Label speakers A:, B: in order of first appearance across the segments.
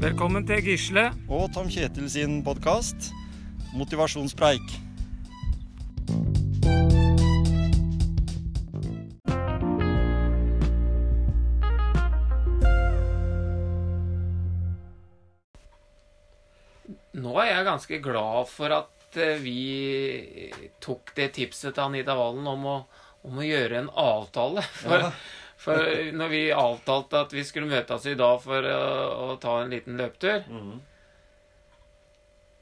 A: Velkommen til Gisle.
B: og Tom Kjetil sin podkast Motivasjonspreik.
C: Nå er jeg ganske glad for at eh, vi tok det tipset til Anita Valen om å, om å gjøre en avtale. For, for når vi avtalte at vi skulle møtes i dag for eh, å ta en liten løpetur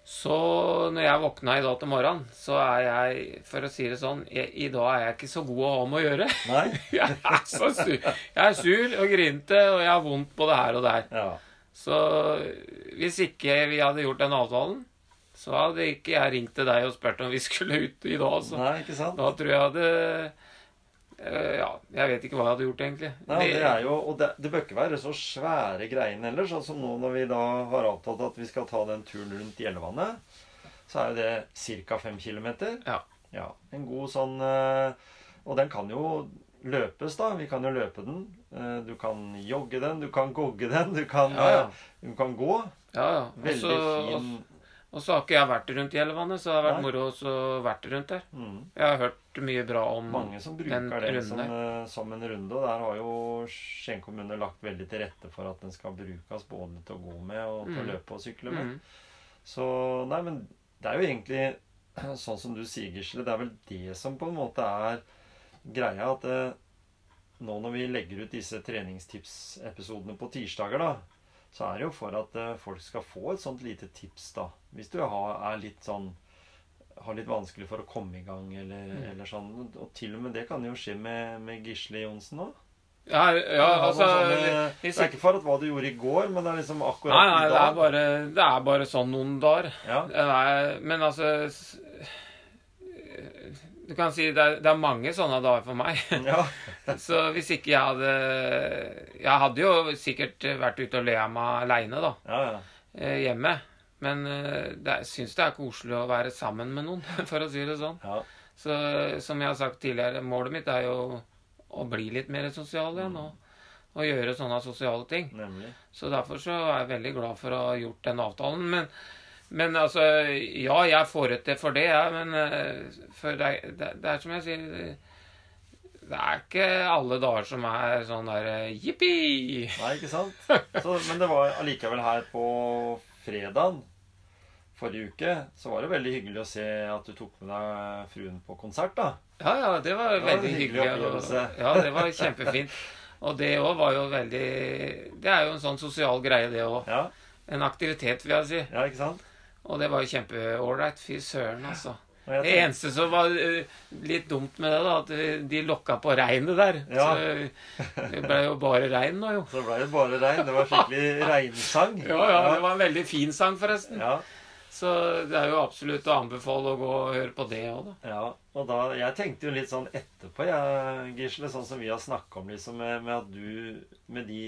C: Så når jeg våkna i dag til morgenen, så er jeg, for å si det sånn jeg, I dag er jeg ikke så god å ha med å gjøre.
B: Nei?
C: Jeg er så sur. Jeg er sur og grinete, og jeg har vondt både her og der.
B: Ja.
C: Så hvis ikke vi hadde gjort den avtalen, så hadde ikke jeg ringt til deg og spurt om vi skulle ut i dag. Så.
B: Nei, ikke sant?
C: Da tror jeg hadde eh, Ja, jeg vet ikke hva jeg hadde gjort, egentlig.
B: Nei, og det er jo, og det, det bør ikke være så svære greiene heller. Sånn som nå når vi da har avtalt at vi skal ta den turen rundt Gjellevannet, så er jo det ca. 5 km.
C: Ja.
B: ja. En god sånn eh, Og den kan jo løpes, da. Vi kan jo løpe den. Eh, Du kan jogge den, du kan gogge den, du kan,
C: Ja, ja.
B: eh, Du kan gå.
C: ja, ja. Og
B: Veldig
C: så-
B: fin
C: Og så har ikke jeg vært rundt Gjellevannet, så det har vært
B: Nei.
C: moro også å vært rundt der.
B: mm.
C: Jeg har hørt mye bra om
B: Mange som
C: den
B: bruker det
C: runden
B: som, eh, som en runde. Og der har jo Skien kommune lagt veldig til rette for at den skal brukes både til å gå med og til å
C: Mm.
B: løpe og sykle med.
C: Mm.
B: Så nei, men det er jo egentlig sånn som du sier, Gisle. Det er vel det som på en måte er greia. At eh, nå når vi legger ut disse treningstipsepisodene på tirsdager, da, så er det jo for at eh, folk skal få et sånt lite tips, da. Hvis du har, er litt sånn har litt vanskelig for å komme i gang, eller,
C: Mm.
B: eller sånn. Og til og med det kan jo skje med, med Gisle Johnsen òg.
C: Ja, ja, altså
B: det er ikke for at hva du gjorde i går, men det er liksom akkurat
C: Nei, nei,
B: i
C: det er
B: dag.
C: bare, det er bare sånn noen dager.
B: Ja,
C: Nei, men altså s- Du kan si det er, det er mange sånne dager for meg.
B: ja,
C: Så hvis ikke jeg hadde Jeg hadde jo sikkert vært ute og le av meg aleine, da.
B: ja, ja.
C: eh, Hjemme. Men eh, det er- syns det er koselig å være sammen med noen, for å si det sånn.
B: ja.
C: Så eh, som jeg har sagt tidligere, målet mitt er jo å bli litt mer sosial igjen. Og, og gjøre sånne sosiale ting.
B: Nemlig.
C: Så derfor så er jeg veldig glad for å ha gjort den avtalen. Men, men altså Ja, jeg får ut det for det, jeg, men eh, for det, er- det, det er som jeg sier Det er ikke alle dager som er sånn der eh, jippi!
B: Nei, ikke sant? Så, men det var allikevel her på fredagen forrige uke, så var det veldig hyggelig å se at du tok med deg fruen på konsert, da.
C: Ja, ja, det var
B: Det var en
C: veldig
B: hyggelig
C: hyggelig.
B: opplevelse.
C: og- ja, det var kjempefint. Og det òg var jo veldig Det er jo en sånn sosial greie, det òg.
B: Ja,
C: En aktivitet, vil jeg si.
B: ja ikke sant?
C: Og det var jo kjempeålreit. Fy søren, altså.
B: Og jeg
C: Det
B: tenkte-
C: eneste som var eh, litt dumt med det, da, at eh, de lokka på regnet der.
B: Ja.
C: Så eh, det ble jo bare regn nå, jo.
B: Så ble det bare regn. Det var skikkelig regnsang.
C: Ja, ja, det var en veldig fin sang, forresten.
B: ja,
C: Så det er jo absolutt å anbefale å gå og høre på det òg, da.
B: ja. Og da, jeg tenkte jo litt sånn etterpå, jeg, Gisle, sånn som vi har snakka om, liksom, med, med at du Med de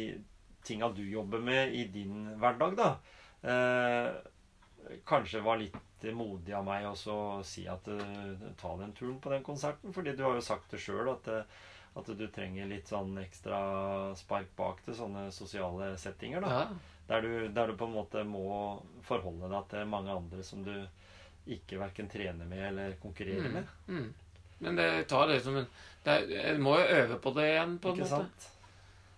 B: tinga du jobber med i din hverdag, da. Eh, kanskje var litt modig av meg også å si at eh, ta den turen på den konserten. fordi du har jo sagt det sjøl at, eh, at du trenger litt sånn ekstra spark bak til sånne sosiale settinger. da.
C: Ja.
B: Der du, der du på en måte må forholde deg til mange andre som du ikke verken trener med eller konkurrerer med.
C: Mm. Men det tar det som en det er, Jeg må jo øve på det igjen, på en
B: Ikke
C: måte.
B: sant?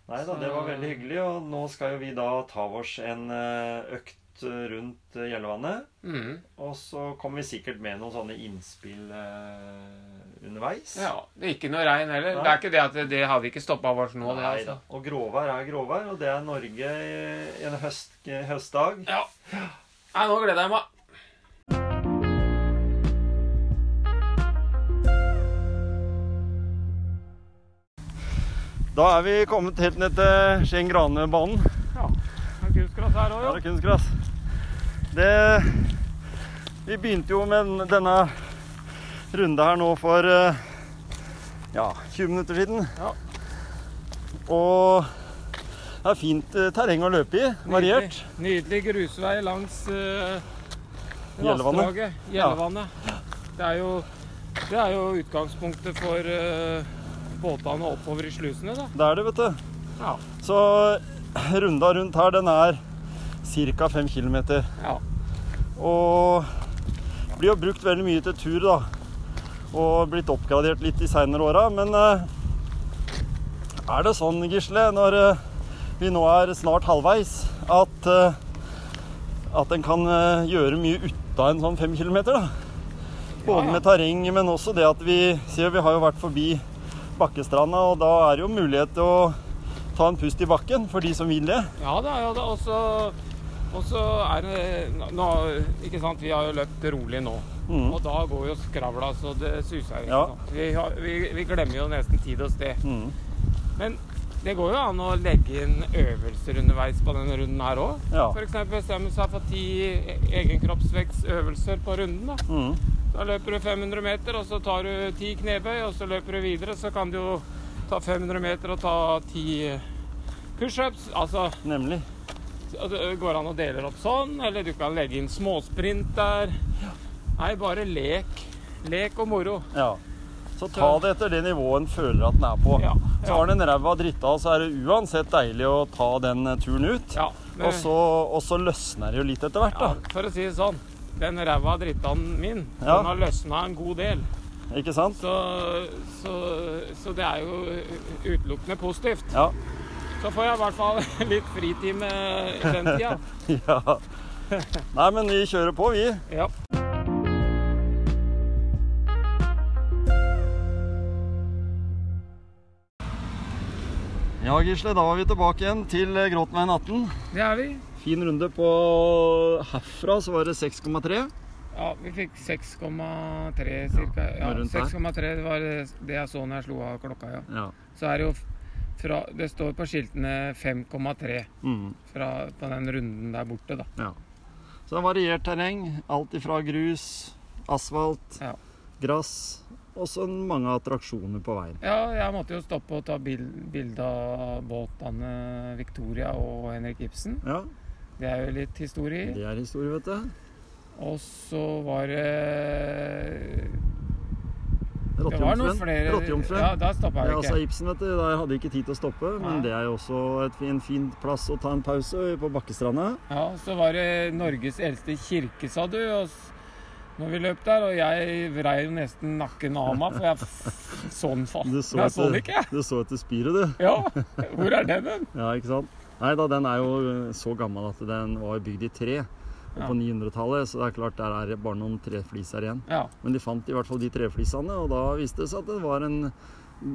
B: Nei da, det var
C: Så-
B: veldig hyggelig. Og nå skal jo vi da ta oss en eh, økt rundt eh, Gjellevannet.
C: Mm.
B: Og så kommer vi sikkert med noen sånne innspill eh, underveis.
C: Ja. Det er ikke noe regn heller.
B: Nei.
C: Det er ikke det at det, det hadde ikke stoppa oss nå, det.
B: Nei
C: altså.
B: da. Og gråvær er gråvær, og det er Norge eh, en høst, høstdag.
C: Ja. Nei, nå gleder jeg meg.
B: Da er vi kommet helt ned til Skien Granebanen.
C: Ja. Det er kunstgras her òg,
B: Ja,
C: jo.
B: det er kunstgras. Det Vi begynte jo med den- denne runda her nå for eh, ja, 20 minutter siden.
C: Ja.
B: Og det er fint eh, terreng å løpe i. Variert.
C: Nydelig grusvei langs eh,
B: Gjellevannet.
C: vassdraget. Gjellevannet. Det, er jo, det er jo utgangspunktet for eh, båtene oppover i slusene, da.
B: Det er det, vet du.
C: Ja.
B: Så runda rundt her, den er ca. 5 km.
C: Ja.
B: Og blir jo brukt veldig mye til tur, da. Og blitt oppgradert litt de seinere åra. Men eh, er det sånn, Gisle, når eh, vi nå er snart halvveis, at, eh, at en kan eh, gjøre mye ut av en sånn 5 km, da? Både
C: ja.
B: med terreng, men også det at vi ser Vi har jo vært forbi Bakkestranda, og da er det jo mulighet til å ta en pust i bakken for de som vil det.
C: Ja da, ja da. Og så- Og så er det nå, Ikke sant, vi har jo løpt rolig nå.
B: Mhm.
C: Og da går jo skravla så det suser. ikke
B: Ja.
C: sant? Vi, har, vi, vi glemmer jo nesten tid og sted.
B: Mhm.
C: Men det går jo an å legge inn øvelser underveis på denne runden her òg.
B: Ja.
C: F.eks. bestemme seg for ti e- egenkroppsvektsøvelser på runden. Da.
B: Mhm.
C: da løper du 500 meter, og så tar du ti knebøy, og så løper du videre. Så kan du jo ta 500 meter og ta ti pushups. Altså
B: Nemlig.
C: og det Altså, går an å dele det opp sånn, eller du kan legge inn småsprint der. Nei, bare lek. Lek og moro.
B: Ja. Så ta det etter det nivået en føler at den er på.
C: Ja, ja.
B: Tar den en ræva dritta, så er det uansett deilig å ta den eh, turen ut.
C: Ja, men-
B: Og, så, og så løsner det jo litt etter hvert,
C: Eh,
B: da.
C: Ja, for å si det sånn. Den ræva drittanen min,
B: Ja.
C: den har løsna en god del.
B: Ikke sant?
C: Så, så, så det er jo utelukkende positivt.
B: Ja.
C: Så får jeg i hvert fall litt fritid med i den tida.
B: ja. Nei, men vi kjører på, vi.
C: Ja.
B: Ja, Gisle, da var vi tilbake igjen til eh, Gråtenveien 18.
C: Det er vi.
B: Fin runde på herfra, så var det 6,3.
C: Ja, vi fikk 6,3 cirka. Ja,
B: noe rundt der.
C: 6,3 det var det jeg så når jeg slo av klokka, ja.
B: Ja.
C: så er det jo f- fra Det står på skiltene 5,3
B: Mm,
C: fra- på den runden der borte, da.
B: ja. Så det er variert terreng. Alt ifra grus, asfalt,
C: Ja.
B: gress og så mange attraksjoner på veien.
C: Ja, jeg måtte jo stoppe og ta bil, bilde av båtene Victoria og Henrik Ibsen.
B: Ja,
C: Det er jo litt historie.
B: Det er historie, vet du.
C: Og så var det Det var noen flere
B: Rottejomfruen.
C: Ja, der stoppa
B: Det er
C: jeg
B: altså
C: ikke.
B: Ibsen, vet du. Der hadde jeg ikke tid til å stoppe. Men
C: Nei.
B: det er jo også et, fin- en fin plass å ta en pause på Bakkestranda.
C: Ja, så var det Norges eldste kirke, sa du. Og s- når vi løp der, og jeg vrei jo nesten nakken av meg, for jeg f- så den faen.
B: Du
C: Jeg
B: så
C: så den
B: etter-
C: sånn ikke, jeg.
B: Du så etter spiret, du.
C: Ja, hvor er den, den?
B: Ja, ikke sant? Nei da, den er jo eh, så gammel at den var bygd i tre og
C: Ja.
B: på 900-tallet. Så det er klart, der er det bare noen trefliser igjen.
C: Ja.
B: Men de fant i hvert fall de treflisene, og da viste det seg at det var en,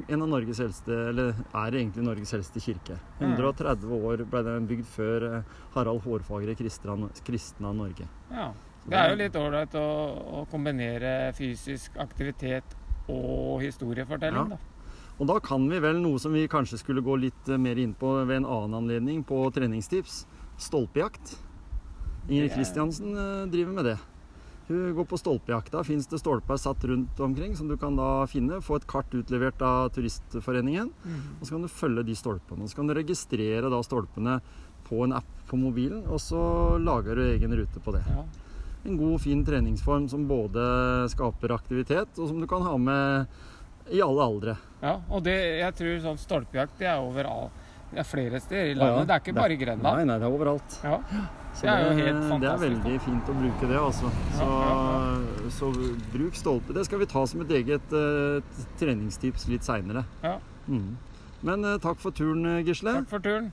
B: en av Norges eldste, eller er egentlig Norges eldste kirke.
C: Mm.
B: 130 år ble den bygd før eh, Harald Hårfagre kristna, kristna Norge.
C: Ja. Det er jo litt ålreit å, å kombinere fysisk aktivitet og historiefortelling,
B: Ja.
C: da.
B: Og da kan vi vel noe som vi kanskje skulle gå litt eh, mer inn på ved en annen anledning på treningstips. Stolpejakt. Ingrid
C: Det er-
B: Kristiansen eh, driver med det. Hun går på stolpejakt. Da fins det stolper satt rundt omkring som du kan da finne. Få et kart utlevert av Turistforeningen.
C: Mhm.
B: Og så kan du følge de stolpene. Og så kan du registrere da stolpene på en app på mobilen, og så lager du egen rute på det.
C: Ja.
B: En god, fin treningsform som både skaper aktivitet, og som du kan ha med i alle aldre.
C: ja. Og det, jeg tror sånn stolpejakt det er overalt. Det er flere steder i
B: Ja, ja.
C: landet. Det er ikke bare i Grenland.
B: Nei, nei, det er overalt.
C: Ja.
B: Så
C: Det er jo
B: det-
C: helt
B: Det er
C: fantastisk, da.
B: veldig fint å bruke det, altså. Så,
C: Ja,
B: så bruk stolpe. Det skal vi ta som et eget eh, t- treningstips litt seinere.
C: ja.
B: Mm. Men eh, takk for turen, eh, Gisle.
C: Takk for turen.